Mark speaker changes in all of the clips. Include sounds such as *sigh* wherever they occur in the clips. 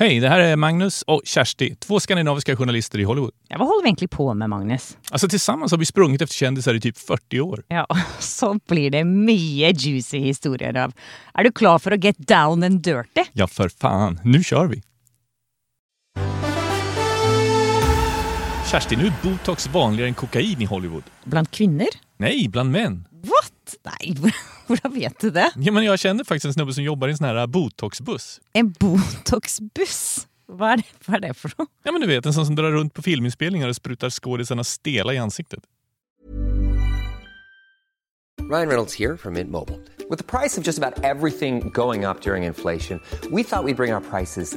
Speaker 1: Hej, det här är Magnus och Kersti, två skandinaviska journalister i Hollywood.
Speaker 2: Ja, vad håller vi egentligen på med, Magnus?
Speaker 1: Alltså tillsammans har vi sprungit efter kändisar i typ 40 år.
Speaker 2: Ja, *laughs* så blir det mycket juicy historier av. Är du klar för att get down and dirty?
Speaker 1: Ja, för fan. Nu kör vi! Kersti, nu är botox vanligare än kokain i Hollywood.
Speaker 2: Bland kvinnor?
Speaker 1: Nej, bland män.
Speaker 2: What? *laughs* Nej, hur vet du det?
Speaker 1: Ja, men jag känner faktiskt en snubbe som jobbar i en sån här äh, botoxbuss.
Speaker 2: En botoxbuss? Vad är, det, vad är det för något?
Speaker 1: Ja, men du vet, en sån som drar runt på filminspelningar och sprutar skådisarna stela i ansiktet.
Speaker 3: Ryan Reynolds here from Mint Mobile. With the price of just about everything going up during inflation, we thought we'd bring our prices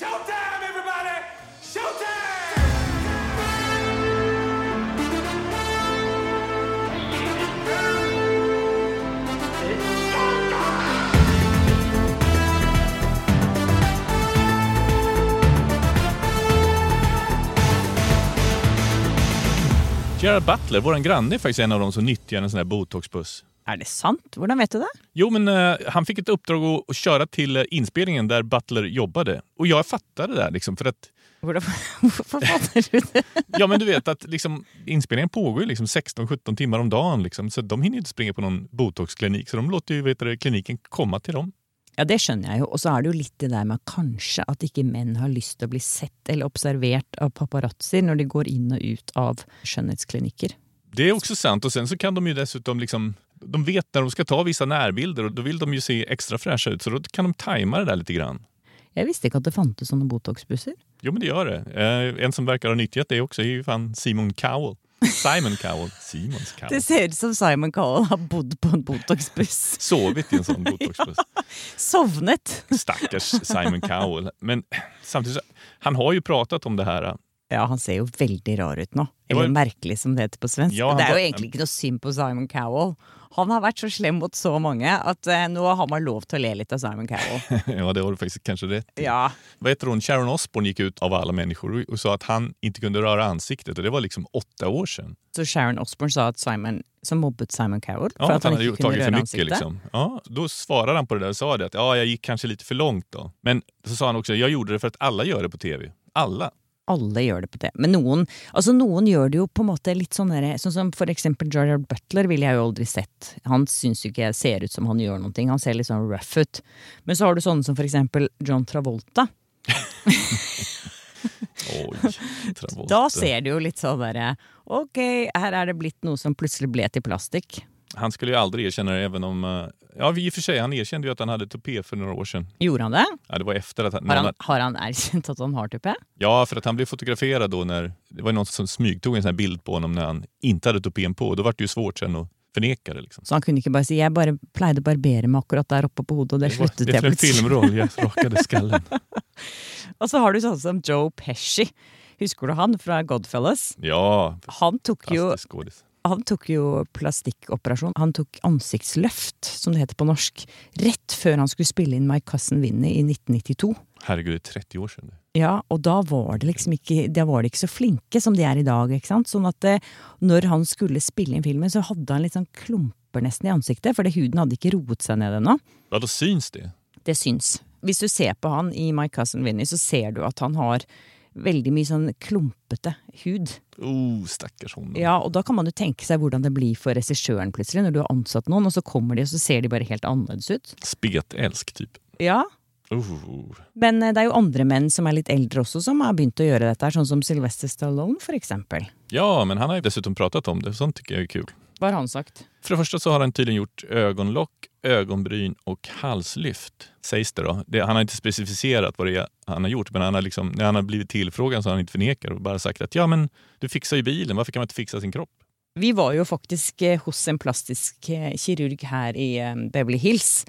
Speaker 4: showtime, everybody! Showtime!
Speaker 1: Gerard Butler, vår granne, är faktiskt en av dem som nyttjar en sån här botoxbuss.
Speaker 2: Är det sant? Hur vet du det?
Speaker 1: Jo, men eh, han fick ett uppdrag att, att köra till eh, inspelningen där Butler jobbade. Och jag fattade det där liksom, för att
Speaker 2: *laughs* Varför fattar du det?
Speaker 1: Ja, men du vet att liksom, inspelningen pågår ju liksom 16-17 timmar om dagen. Liksom, så de hinner ju inte springa på någon botoxklinik. Så de låter ju vet du, kliniken komma till dem.
Speaker 2: *laughs* Ja, det skjønner jeg jo. Och så är det jo litt det der med kanskje at ikke menn har lyst til å bli sett eller observert av paparazzoer när de går in och ut av skönhetskliniker.
Speaker 1: Det är också sant. Och sen så kan de ju dessutom... Liksom, de vet när de ska ta vissa närbilder och då vill de ju se extra fräscha ut. Så då kan de tajma det där lite grann.
Speaker 2: Jag visste inte att det fantes sånne Botox-busser.
Speaker 1: Jo, men det gör det. Eh, en som verkar ha nyttjat det också är ju fan Simon Cowell. Simon Cowell. Simons Cowell.
Speaker 2: Det ser ut som Simon Cowell har bodd på en Botox-buss.
Speaker 1: Sovit i en sån botoxbuss.
Speaker 2: Sovnet!
Speaker 1: Stackars Simon Cowell. Men samtidigt, så- han har ju pratat om det här.
Speaker 2: Ja, han ser jo veldig rar ut nå.
Speaker 1: var-
Speaker 2: Eller merkelig, som det heter på svensk.
Speaker 1: Ja, han
Speaker 2: det er
Speaker 1: var-
Speaker 2: jo egentlig ikke noe synd på Simon Cowell. Han har vært så slem mot så mange at eh, nå har man lov til å le litt av Simon
Speaker 1: *laughs*
Speaker 2: Cowell.
Speaker 1: Ja, det har du faktiskt kanske rätt i.
Speaker 2: Ja.
Speaker 1: Vad heter hon? Sharon Osbourne gick ut av alla människor och- och sa att han inte kunde röra ansiktet och det var liksom åtta år sedan.
Speaker 2: Så Sharon Osbourne sa att Simon, som mobbet Simon Cowell
Speaker 1: Ja,
Speaker 2: for
Speaker 1: att han hade ju
Speaker 2: ikke kunne
Speaker 1: tagit för
Speaker 2: røre
Speaker 1: mycket.
Speaker 2: ansiktet.
Speaker 1: Liksom. Ja, då svarade han på det där och sa det att ja, jag gick kanske lite för långt då. Men så sa han också, jag gjorde det för att alla gör det på tv. Alla.
Speaker 2: Alle gjør det på det. Men noen, altså noen gjør det jo på en måte litt sånn der- Sånn som for eksempel Gerard Butler ville jeg jo aldri sett. Han syns jo ikke jeg ser ut som han gjør noen ting. Han ser litt sånn rough ut. Men så har du sånne som for eksempel John Travolta.
Speaker 1: Oj, *laughs* Travolta.
Speaker 2: Da ser du jo litt sånn derre Ok, her er det blitt noe som plutselig ble til plastikk.
Speaker 1: Han skulle ju aldrig erkänna det även om... eh, Ja, i och för sig, han erkände ju att han hade tupé för några år sedan.
Speaker 2: Gjorde han det?
Speaker 1: Ja, det var efter att han...
Speaker 2: Har
Speaker 1: någon-
Speaker 2: han, har han erkjent at han har tupé?
Speaker 1: Ja, för att han blev fotograferad då när det var någon som smygtog en sån här bild på honom när han inte hade tupén på. Då var det ju svårt sen att förneka det. Liksom.
Speaker 2: Så han kunne ikke bare si 'jeg bare pleide å barbere meg akkurat der oppe på hodet', og det
Speaker 1: Det, var,
Speaker 2: sluttet
Speaker 1: det är
Speaker 2: jeg
Speaker 1: för en
Speaker 2: plutselig.
Speaker 1: filmroll. Jag rakade skallen.
Speaker 2: *laughs* Og så har du sånn som Joe Pesci. Husker du han fra Godfellas?
Speaker 1: Ja,
Speaker 2: Han tok jo
Speaker 1: fantastisk skådis.
Speaker 2: han tok jo plastikkoperasjon. Han tok ansiktsløft, som det heter på norsk, rett før han skulle spille inn My Cousin Vinny i 1992.
Speaker 1: Herregud, det är 30 år sedan. nu.
Speaker 2: Ja, og da var det liksom ikke, da var de ikke så flinke som de er i dag. ikke sant? Sånn at eh, når han skulle spille inn filmen, så hadde han litt sånn klumper nesten i ansiktet, fordi huden hadde ikke roet seg ned ennå.
Speaker 1: Ja, då syns det.
Speaker 2: Det syns. Hvis du ser på han i My Cousin Vinny, så ser du at han har veldig mye sånn klumpete hud.
Speaker 1: Oh, stackars honom.
Speaker 2: Ja, og da kan man jo tenke seg hvordan det blir for regissøren plutselig, når du har ansatt noen, og så kommer de, og så ser de bare helt annerledes ut.
Speaker 1: Spetälsk, typ.
Speaker 2: Ja.
Speaker 1: Oh.
Speaker 2: Men eh, det er jo andre menn som er litt eldre også, som har begynt å gjøre dette, her, sånn som Sylvester Stallone, for eksempel.
Speaker 1: Ja, men han har ju dessutom pratat om det. Sånt tycker jag är kul.
Speaker 2: Hva har han sagt?
Speaker 1: För det första så har han tydligen gjort ögonlock, ögonbryn och halslyft. Sägs det då. Det, han har inte specificerat vad det är han har gjort men han har liksom, när han har blivit tillfrågad så har han inte förnekat och bara sagt att ja men du fixar ju bilen, varför kan man inte fixa sin kropp?
Speaker 2: Vi var jo faktisk eh, hos en plastisk eh, kirurg her i eh, Beverly Hills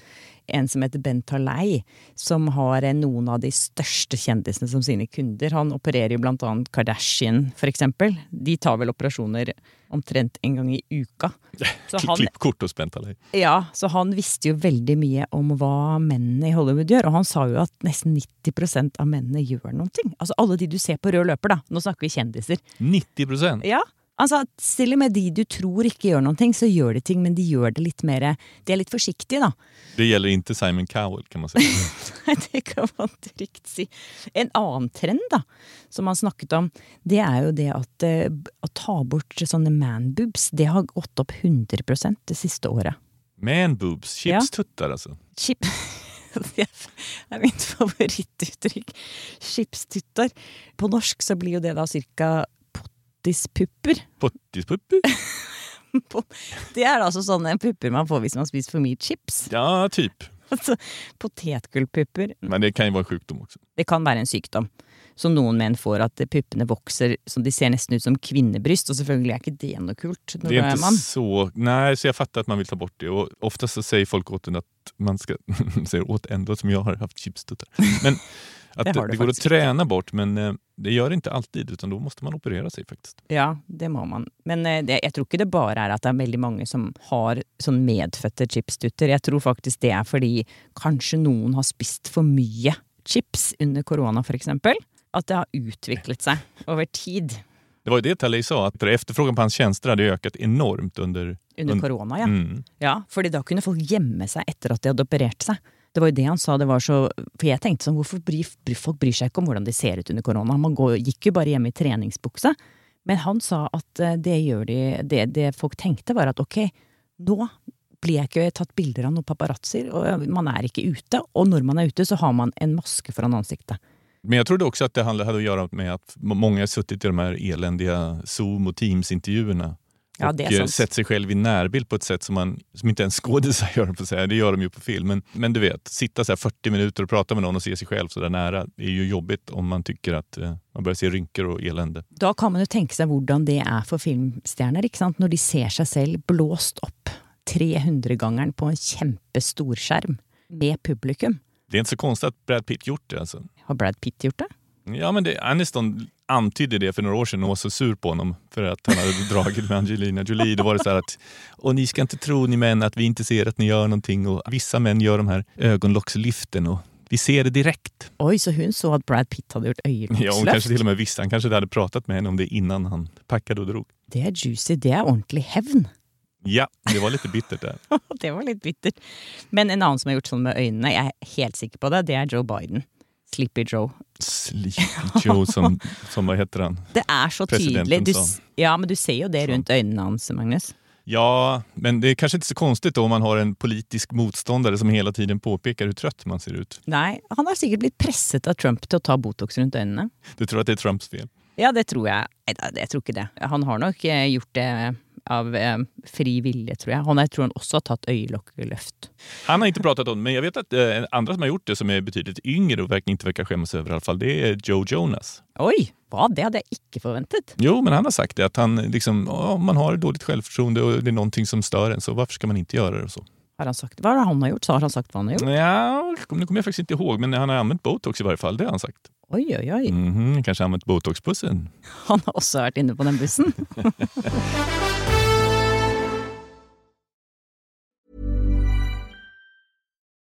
Speaker 2: en som heter Bent Harlei, som har eh, noen av de største kjendisene som sine kunder. Han opererer jo blant annet Kardashian, for eksempel. De tar vel operasjoner omtrent en gang i uka. Så han
Speaker 1: Klippkort hos Bent Alei.
Speaker 2: ja, så han visste jo veldig mye om hva mennene i Hollywood gjør, og han sa jo at nesten 90 av mennene gjør noen ting. Altså alle de du ser på rød løper, da. Nå snakker vi kjendiser.
Speaker 1: 90
Speaker 2: Ja, han sa at selv med de du tror ikke gjør noen ting, så gjør de ting, men de gjør det litt mer De er litt forsiktige, da. *laughs*
Speaker 1: Det gäller inte Simon Cowell kan man säga.
Speaker 2: Nei, det kan man trygt si. En annen trend da, som han snakket om, det er jo det at eh, b- å ta bort sånne manboobs, det har gått opp 100 det siste året.
Speaker 1: Man boobs, chipstuttar alltså.
Speaker 2: Chip *laughs* Det er mitt favorittuttrykk. Chipstuttar. På norsk så blir jo det da cirka pottispupper. *laughs*
Speaker 1: Pottispuppi.
Speaker 2: På- Det er altså sånne pupper man får hvis man spiser for mye chips.
Speaker 1: Ja, typ.
Speaker 2: Altså potetgullpupper.
Speaker 1: Men det kan ju vara en sjukdom också.
Speaker 2: Det kan være en sykdom som noen menn får, at puppene vokser så de ser nesten ut som kvinnebryst. Og selvfølgelig er ikke det noe kult når
Speaker 1: Det
Speaker 2: du
Speaker 1: är
Speaker 2: er
Speaker 1: inte
Speaker 2: mann.
Speaker 1: så... Nej, så jag fattar att man vill ta bort det. Och oftast så säger folk åt en att *laughs* man ska... säger åt ändå som jag har haft chipstuttar.
Speaker 2: *laughs*
Speaker 1: Men att
Speaker 2: Det
Speaker 1: det,
Speaker 2: har du
Speaker 1: det går att
Speaker 2: faktiskt
Speaker 1: träna bort, men eh, det gör det inte alltid. Utan då måste man operera sig faktiskt.
Speaker 2: Ja, det må man. Men eh, det, jeg tror ikke det bare er at det er veldig mange som har sånn medfødte chipsdutter. Jeg tror faktisk det er fordi kanskje noen har spist for mye chips under korona, for eksempel. At det har utviklet seg over tid
Speaker 1: Det var ju det Talley sa, att efterfrågan på hans tjänster hade ökat enormt under...
Speaker 2: under
Speaker 1: Und-
Speaker 2: korona, ja.
Speaker 1: Mm.
Speaker 2: ja. Fordi da kunne folk gjemme seg etter at de hadde operert seg. Det var jo det han sa, det var så For jeg tenkte sånn, hvorfor bryr, bryr folk bryr seg ikke om hvordan de ser ut under korona? Man går, gikk jo bare hjemme i treningsbukse. Men han sa at eh, det gjør de Det, det folk tenkte, var at ok, nå blir jeg ikke tatt bilder av noen paparazzoer, og man er ikke ute. Og når man er ute, så har man en maske foran ansiktet.
Speaker 1: Men jag trodde också att det handlade- hade att göra med att må- många har suttit i de här eländiga Zoom och Teams-intervjuerna
Speaker 2: Ja, det
Speaker 1: och
Speaker 2: är
Speaker 1: eh,
Speaker 2: sant.
Speaker 1: sett sig själv i närbild på ett sätt som, man, som inte ens *laughs* skådisar gör, på säga. det gör de ju på film. Men, men du vet, sitta så här 40 minuter och prata med någon och se sig själv så där nära, det är ju jobbigt om man tycker att eh, man börjar se rynkor och elände.
Speaker 2: Da kan man jo tenke seg hvordan det er for filmstjerner, ikke sant? når de ser seg selv blåst opp 300-gangeren på en kjempestor skjerm med publikum.
Speaker 1: Det är inte så konstigt att Brad Pitt gjort det alltså.
Speaker 2: Har Brad Pitt gjort det?
Speaker 1: Ja, men det, Aniston antydde det för några år sedan och var så sur på honom för att han hade *laughs* dragit med Angelina Jolie. Då var det så här att, och ni ska inte tro ni män att vi inte ser att ni gör någonting och vissa män gör de här ögonlockslyften och vi ser det direkt.
Speaker 2: Oj, så hun så at Brad Pitt hadde gjort
Speaker 1: Ja, hon kanske
Speaker 2: øyelokksløft?
Speaker 1: till och med visste, han kanske hade pratat med henne om det innan han packade och drog.
Speaker 2: Det er juicy, det er ordentlig hevn. *laughs*
Speaker 1: Ja, det var lite bittert där.
Speaker 2: det var litt bittert. Men en annen som har gjort sånn med øynene, jeg er helt sikker på det, det er Joe Biden. Sleepy Joe.
Speaker 1: Sleepy Joe som, som vad heter han?
Speaker 2: Det er så
Speaker 1: Presidenten
Speaker 2: tydelig. Du,
Speaker 1: sa.
Speaker 2: s- ja, men du ser jo det rundt øynene hans, Magnus.
Speaker 1: Ja, men det är kanske inte så konstigt då om man har en politisk motståndare som hela tiden påpekar hur trött man ser ut.
Speaker 2: Nei, han har sikkert blitt presset av Trump til å ta Botox rundt øynene.
Speaker 1: Du tror att det är Trumps fel?
Speaker 2: Ja, det tror jeg. Nei, da, jeg tror ikke det. Han har nok eh, gjort det av eh, fri vilje, tror jeg. Han jeg tror han også har tatt øyelokkeløft.
Speaker 1: Han har inte pratat om det, men jag vet att eh, andra som har gjort det som är betydligt yngre och verkar inte verkar skämmas över i alla fall, det är Joe Jonas.
Speaker 2: Oi! Hva? Det hadde jeg ikke forventet.
Speaker 1: Jo, men han har sagt det att han liksom, ja, om man har dåligt självförtroende och det är någonting som stör en så varför ska man inte göra det och så?
Speaker 2: Har han sagt hva er det han har gjort? Så har han sagt hva han har gjort?
Speaker 1: Ja, nu kommer jag faktiskt inte ihåg, men han har använt botox i varje fall, det har han sagt.
Speaker 2: Oi, oi, oi.
Speaker 1: Mhm, kanske använt botoxpussen.
Speaker 2: Han har også vært inne på den bussen.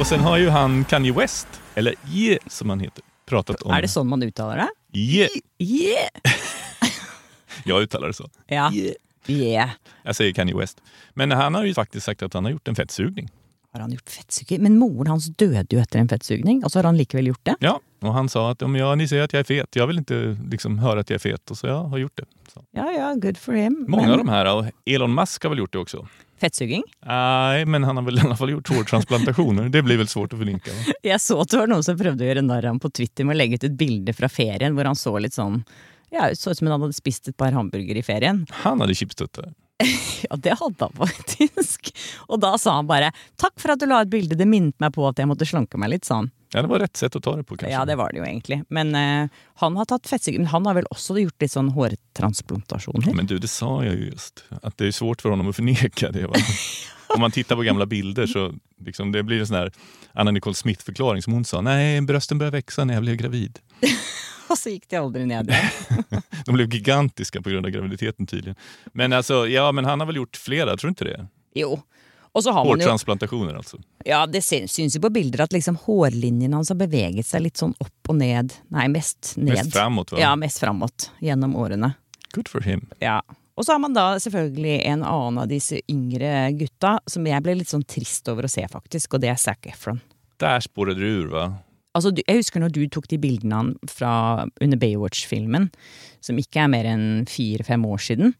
Speaker 1: Och sen har ju han Kanye West, eller Ye som han heter, pratat om...
Speaker 2: Er det sånn man uttaler det?
Speaker 1: Ye.
Speaker 2: Yeah!
Speaker 1: Jag uttalar det så.
Speaker 2: Ja. Yeah.
Speaker 1: Jag säger Kanye West. Men han har ju faktiskt sagt att han har gjort en fettsugning.
Speaker 2: Har han gjort fettsugning? Men moren hans døde jo etter en fettsugning, og så har han likevel gjort det?
Speaker 1: Ja, och han sa att om ja, ni säger att jag är fet, jag vill inte liksom höra att jag är fet. Och så jag har gjort det. Så.
Speaker 2: Ja ja, good for him.
Speaker 1: Många
Speaker 2: Men-
Speaker 1: av de här, och Elon Musk har väl gjort det också?
Speaker 2: Fettsuging?
Speaker 1: Nej, men han har väl i alla fall gjort hårtransplantationer. Det blir väl svårt att förlinka. Va?
Speaker 2: Jeg så at det var noen som prøvde å gjøre narr av ham på Twitter med å legge ut et bilde fra ferien hvor han så litt sånn ja, Så ut som han hadde spist et par hamburgere i ferien. *laughs*
Speaker 1: Han hade chipstuttar.
Speaker 2: Ja, det hadde han faktisk. Og da sa han bare 'takk for at du la ut bilde, det minnet meg på at jeg måtte slanke meg litt', sa han.
Speaker 1: Ja, det var rätt sätt att ta det på kanske.
Speaker 2: Ja, det var det jo egentlig. Men eh, han har tatt fettsyke. Men han har vel också gjort litt sånn hårtransplantasjoner?
Speaker 1: Men du, det sa jag ju just. Att det är svårt för honom att förneka det. Va? Om man tittar på gamla bilder så liksom, det blir en sån här Anna Nicole Smith-förklaring som hon sa. Nej, brösten började växa när jag blev gravid.
Speaker 2: *laughs* Og så gikk de aldri ned igjen.
Speaker 1: De blev gigantiska på grund av graviditeten tydligen. Men alltså, ja, men han har väl gjort flera, tror du inte det?
Speaker 2: Jo. Och så har man jo,
Speaker 1: Hårtransplantationer alltså.
Speaker 2: ja, det sy- syns jo på bilder at liksom hårlinjen hans har beveget seg litt sånn opp og ned. Nei, mest ned.
Speaker 1: Mest framåt va?
Speaker 2: Ja, mest framåt gjennom årene.
Speaker 1: Good for him.
Speaker 2: Ja. Og så har man da selvfølgelig en annen av disse yngre gutta som jeg ble litt sånn trist over å se, faktisk, och det er Zac Efron.
Speaker 1: Där spårade du ur va?
Speaker 2: Altså, du, jeg husker når du tok de bildene han fra under Baywatch-filmen, som ikke er mer enn fire-fem år siden.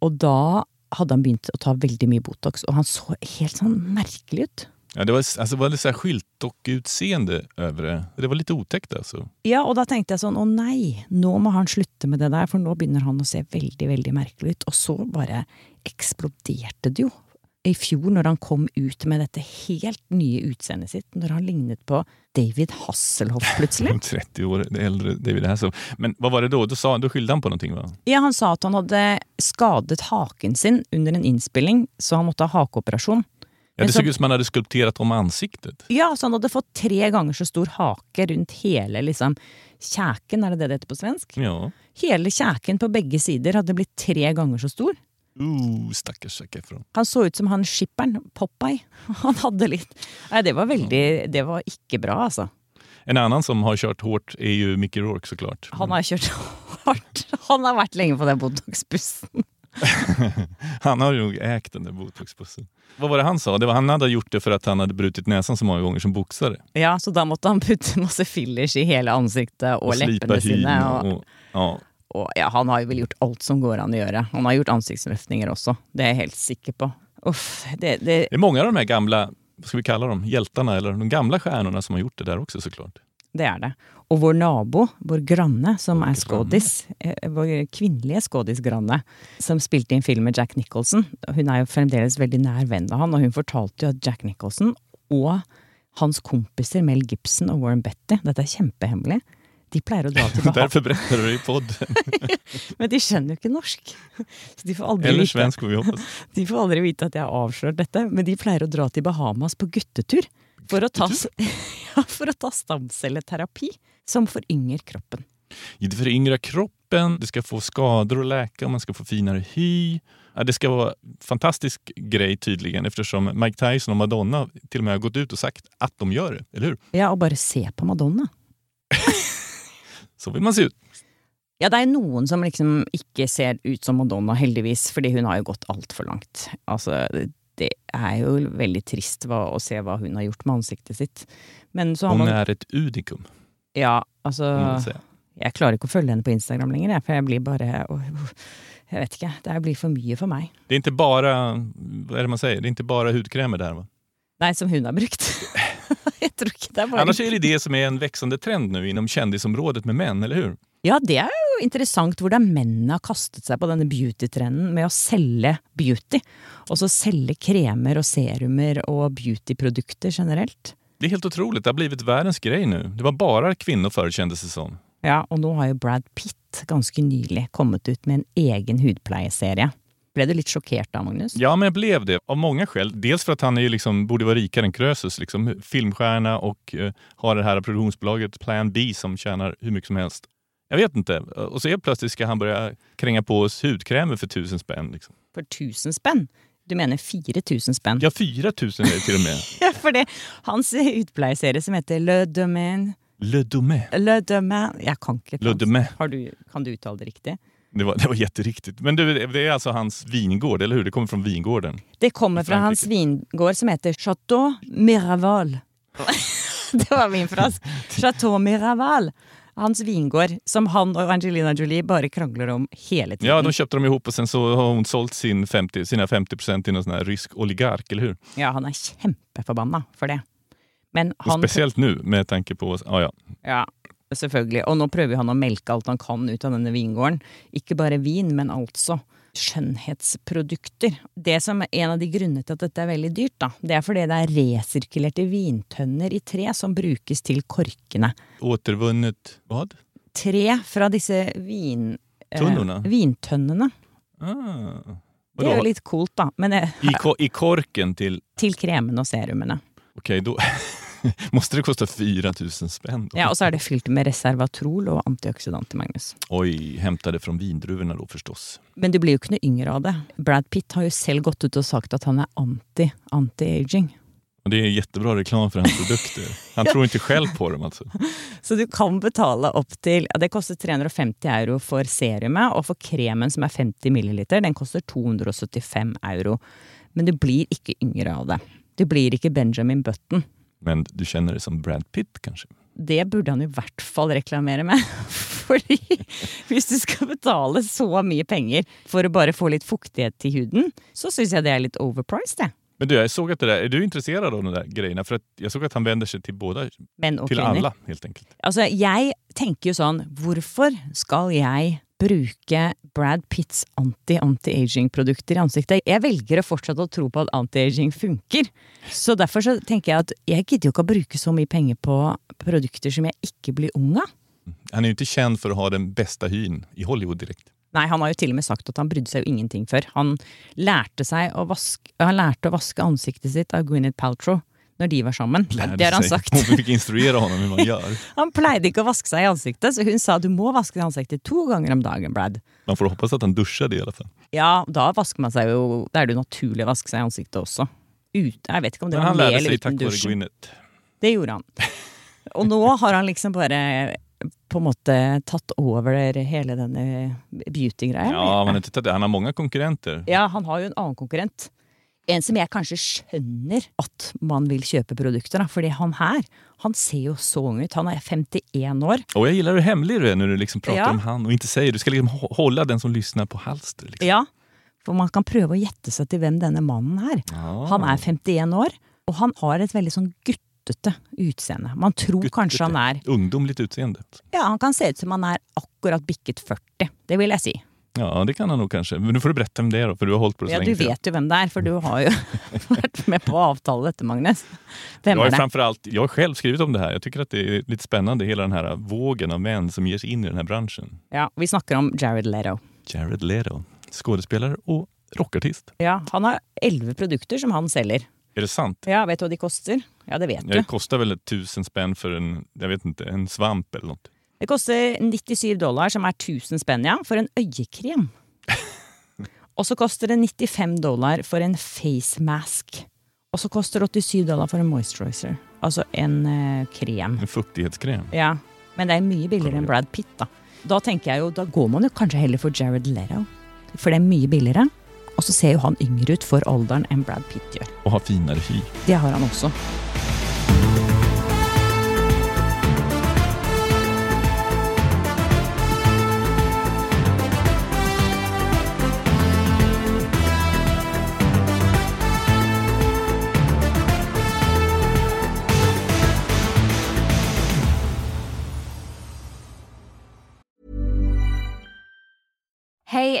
Speaker 2: Og da hadde han begynt å ta veldig mye Botox, og han så helt sånn merkelig ut.
Speaker 1: Ja, det var, alltså, det var lite så här skyltdock-utseende över det. Det var lite otäckt alltså.
Speaker 2: Ja, og da tenkte jeg sånn, å nei, nå må han slutte med det der, for nå begynner han å se veldig, veldig merkelig ut. Og så bare eksploderte det jo. I fjor, når han kom ut med dette helt nye utseendet sitt, når han lignet på David Hasselhoff
Speaker 1: *laughs*
Speaker 2: plutselig.
Speaker 1: 30 år äldre David Hasselhoff. Men vad var det då? Då, sa, då skyllde han på någonting va?
Speaker 2: Ja, Han sa at han hadde skadet haken sin under en innspilling, så han måtte ha hakeoperasjon.
Speaker 1: Ja, det
Speaker 2: Men
Speaker 1: såg
Speaker 2: så-
Speaker 1: ut som han hade skulpterat om ansiktet.
Speaker 2: Ja, så han hadde fått tre ganger så stor hake rundt hele liksom, kjæken, er det det det heter på svensk?
Speaker 1: Ja.
Speaker 2: Hele kjæken på begge sider hadde blitt tre ganger så stor.
Speaker 1: Ooh, stackars Zac Efron.
Speaker 2: Han så ut som han skipperen, Popeye. *laughs* Han hadde litt Nei, det var veldig Det var ikke bra, altså.
Speaker 1: En annan som har kört hårt är ju Mickey Rourke såklart.
Speaker 2: Han har kjørt hardt. Han har vært lenge på den Botox-bussen.
Speaker 1: Han har ju nog ägt den där botoxbussen. Vad var det han sa? Det var, han hade gjort det för att han hade brutit näsan så många gånger som boxare.
Speaker 2: *laughs* Ja, så da måtte han putte masse fillers i hele ansiktet og, leppene sine. Og,
Speaker 1: och, ja.
Speaker 2: og ja, han har jo vel gjort alt som går an å gjøre. Han har gjort ansiktsløftninger også, det er jeg helt sikker på. Uff, det, det
Speaker 1: Det är många av de här gamla, vad ska vi kalla dem, hjältarna eller de gamla stjärnorna som har gjort det där också såklart.
Speaker 2: Det er det. Og vår nabo, vår granne, som er skådis, eh, vår kvinnelige skådisgranne, som spilte i en film med Jack Nicholson. Hun er jo fremdeles veldig nær venn av han, og hun fortalte jo at Jack Nicholson og hans kompiser Mel Gibson og Warren Betty, dette er kjempehemmelig, de pleier å dra til
Speaker 1: Därför
Speaker 2: Bahamas,
Speaker 1: berättar du det i podden.
Speaker 2: men de skjønner jo ikke norsk. Så de får aldri
Speaker 1: Eller
Speaker 2: vite,
Speaker 1: svensk får vi hoppas.
Speaker 2: de får aldri vite at jeg har avslørt dette, men de pleier å dra til Bahamas på guttetur for å ta, s- *laughs* ja, for å ta stamcelleterapi, som forynger kroppen.
Speaker 1: Det föryngrar kroppen, det ska få skador att läka, man ska få finare hy. Ja, Det ska vara en fantastisk grej tydligen eftersom Mike Tyson och Madonna till och med har gått ut och sagt att de gör det, eller hur?
Speaker 2: Ja, og bare se på Madonna.
Speaker 1: Så vill man se ut.
Speaker 2: Ja, det er noen som liksom ikke ser ut som Madonna, heldigvis, fordi hun har jo gått altfor langt. Altså, det er jo veldig trist hva, å se hva hun har gjort med ansiktet sitt. Men så har
Speaker 1: Hon
Speaker 2: man
Speaker 1: är ett udikum,
Speaker 2: Ja, altså
Speaker 1: kan man säga.
Speaker 2: Jeg klarer ikke å følge henne på Instagram lenger, jeg, for jeg blir bare åh, åh, Jeg vet ikke. Det her blir for mye for meg.
Speaker 1: Det är inte bara, vad är det man säger, det är inte bara hudkrämer det här va?
Speaker 2: Nei, som hun har brukt. *laughs* jeg tror ikke det er bare
Speaker 1: Annars är det det som är en växande trend nu inom kändisområdet med män, eller hur?
Speaker 2: Ja, det er jo interessant hvordan mennene har kastet seg på denne beauty-trenden med å selge beauty. Og så selge kremer og serumer og beautyprodukter generelt.
Speaker 1: Det är helt otroligt, det har blivit världens grej nu. Det var bara kvinnor förr kändes det som.
Speaker 2: Ja, og nå har jo Brad Pitt ganske nylig kommet ut med en egen hudpleieserie. Ble du litt sjokkert da, Magnus?
Speaker 1: Ja, men jag blev det av många skäl. Dels för att han är ju liksom, borde vara rikare än Krösus, liksom, filmstjärna och eh, har det här produktionsbolaget Plan B som tjänar hur mycket som helst. Jag vet inte. Och så helt plötsligt ska han börja kränga på oss hudkrämer för tusen spänn. Liksom.
Speaker 2: For 1000 spenn? Du mener 4000 spenn?
Speaker 1: Ja, 4 000 är det till och med.
Speaker 2: *laughs* For det, hans utpleieserie som heter Le Domaine
Speaker 1: Le Domaine.
Speaker 2: Le Domaine Jeg kan ikke
Speaker 1: Le
Speaker 2: fransk.
Speaker 1: Domaine.
Speaker 2: Har du, kan du uttale det riktig?
Speaker 1: Det var, det var jätteriktigt. Men du, det är alltså hans vingård, eller hur? Det kommer från vingården.
Speaker 2: Det kommer fra hans vingård som heter Chateau Miraval. *laughs* det var min fras. Chateau Miraval. Hans vingård, som han og Angelina Jolie bare krangler om hele tiden.
Speaker 1: Ja, de köpte dem ihop och sen så har hon sålt sin 50, sina 50 procent till någon sån här rysk oligark, eller hur?
Speaker 2: Ja, han er kjempeforbanna for det. Men
Speaker 1: Och
Speaker 2: han
Speaker 1: speciellt nu med tanke på... Ja, ja.
Speaker 2: Ja, selvfølgelig. Og nå prøver han å melke alt han kan ut av denne vingården. Ikke bare vin, men altså skjønnhetsprodukter. Det som er En av de grunnene til at dette er veldig dyrt, da, det er fordi det er resirkulerte vintønner i tre som brukes til korkene.
Speaker 1: Återvunnet... Vad?
Speaker 2: Tre fra disse vin... eh,
Speaker 1: Tunnorna?
Speaker 2: vintønnene.
Speaker 1: Ah.
Speaker 2: Det er
Speaker 1: Vadå?
Speaker 2: jo litt coolt, da. Men eh,
Speaker 1: I, ko- I korken till...
Speaker 2: til kremene og serumene.
Speaker 1: Okej, då... *laughs* Måste det kosta 4 000 spänn? Då?
Speaker 2: Ja, Og så er det fylt med reservatrol og antioksidanter, Magnus.
Speaker 1: Oj, hämtade från vindruvorna då förstås.
Speaker 2: Men du blir jo ikke noe yngre av det. Brad Pitt har jo selv gått ut og sagt at han er anti, anti-aging.
Speaker 1: Och det är jättebra reklam för hans produkter. Han tror inte själv på dem alltså.
Speaker 2: Så du kan betale opp til ja, Det koster 350 euro for serumet, og for kremen som er 50 milliliter, den koster 275 euro. Men du blir ikke yngre av det. Du blir ikke Benjamin Button.
Speaker 1: Men du känner dig som Brad Pitt kanske?
Speaker 2: Det burde han i hvert fall reklamere med. *laughs* Fordi hvis du skal betale så mye penger for å bare få litt fuktighet til huden, så syns jeg det er litt overpriced, det.
Speaker 1: Men du, jag såg att det där... Är du intresserad av de där grejerna? För att jag såg att han vänder sig till båda,
Speaker 2: Menn og
Speaker 1: till
Speaker 2: kvinner.
Speaker 1: alla helt enkelt.
Speaker 2: Altså, jeg tenker jo sånn Hvorfor skal jeg bruke Brad Pitts anti-anti-aging-produkter i ansiktet? Jeg velger å fortsette å tro på at anti-aging funker. Så derfor så tenker jeg at jeg gidder jo ikke å bruke så mye penger på produkter som jeg ikke blir ung av.
Speaker 1: Han är ju inte känd för att ha den bästa hyn i Hollywood direkt.
Speaker 2: Nei, han har jo til og med sagt at han brydde seg jo ingenting før. Han lærte, seg å vaske, han lærte å vaske ansiktet sitt av Gwyneth Paltrow når de var sammen. det har han
Speaker 1: sig.
Speaker 2: sagt.
Speaker 1: *laughs* Hon fick instruera honom hur man gör.
Speaker 2: Han pleide ikke å vaske seg i ansiktet, så hun sa du må vaske deg i ansiktet to ganger om dagen, Brad.
Speaker 1: Man får hoppas att han duschade i alla fall.
Speaker 2: Ja, da vasker man seg jo Da er det jo naturlig å vaske seg i ansiktet også. Ut, jeg vet ikke om det
Speaker 1: Men
Speaker 2: var
Speaker 1: han
Speaker 2: med liksom
Speaker 1: lärde
Speaker 2: eller
Speaker 1: sig
Speaker 2: uten
Speaker 1: tack vare
Speaker 2: dusj.
Speaker 1: Gwyneth.
Speaker 2: Det gjorde han. Og nå har han liksom bare på en måte tatt over hele denne beauty-greia.
Speaker 1: Ja, men inte tatt det. han har många konkurrenter.
Speaker 2: Ja, han har jo en annen konkurrent. En som jeg kanskje skjønner at man vil kjøpe produkter av. Fordi han her, han ser jo så ung ut. Han er 51 år.
Speaker 1: Och jag gillar hur hemlig du är när du liksom pratar
Speaker 2: Ja.
Speaker 1: om han och inte säger. Du ska liksom hå- hålla den som lyssnar på halster. Liksom.
Speaker 2: Ja, for man kan prøve å gjette seg til hvem denne mannen er. Han er 51 år, og han har et veldig sånn guttete utseende. Man tror kanskje han er
Speaker 1: Ungdomligt utseende.
Speaker 2: Ja, han kan se ut som han er akkurat bikket 40. Det vil jeg si.
Speaker 1: Ja, det kan han nog kanskje. Men nu får du berätta om det då, för du har hållit på det så
Speaker 2: Ja,
Speaker 1: länge.
Speaker 2: du
Speaker 1: tror jag.
Speaker 2: vet jo hvem det er, for du har jo *laughs* vært med på å avtale dette, Magnus.
Speaker 1: Jag
Speaker 2: Hvem
Speaker 1: har,
Speaker 2: er
Speaker 1: ju
Speaker 2: det?
Speaker 1: framförallt, jag har själv skrivit om det här. Jag tycker att det är lite spännande, hela den här vågen av män som ger sig in i den här branschen.
Speaker 2: Ja, vi snakker om Jared Leto.
Speaker 1: Jared Leto, skådespelare og rockartist.
Speaker 2: Ja, han har elleve produkter som han selger.
Speaker 1: Är det sant?
Speaker 2: Ja, vet du hva de koster? Ja, det vet
Speaker 1: Ja, Det
Speaker 2: du.
Speaker 1: kostar väl tusen spänn för en, jag vet inte, en svamp eller något.
Speaker 2: Det koster 97 dollar, som er 1000 spenn, ja, for en øyekrem. Og så koster det 95 dollar for en face mask. Og så koster det 87 dollar for en moisturizer. Altså en eh, krem.
Speaker 1: En fuktighetskräm.
Speaker 2: Ja, Men det er mye billigere enn Brad Pitt, da. Da tenker jeg jo, da går man jo kanskje heller for Jared Leto. For det er mye billigere. Og så ser jo han yngre ut for alderen enn Brad Pitt gjør.
Speaker 1: Och ha finare hy.
Speaker 2: Det har han også.
Speaker 5: Hey,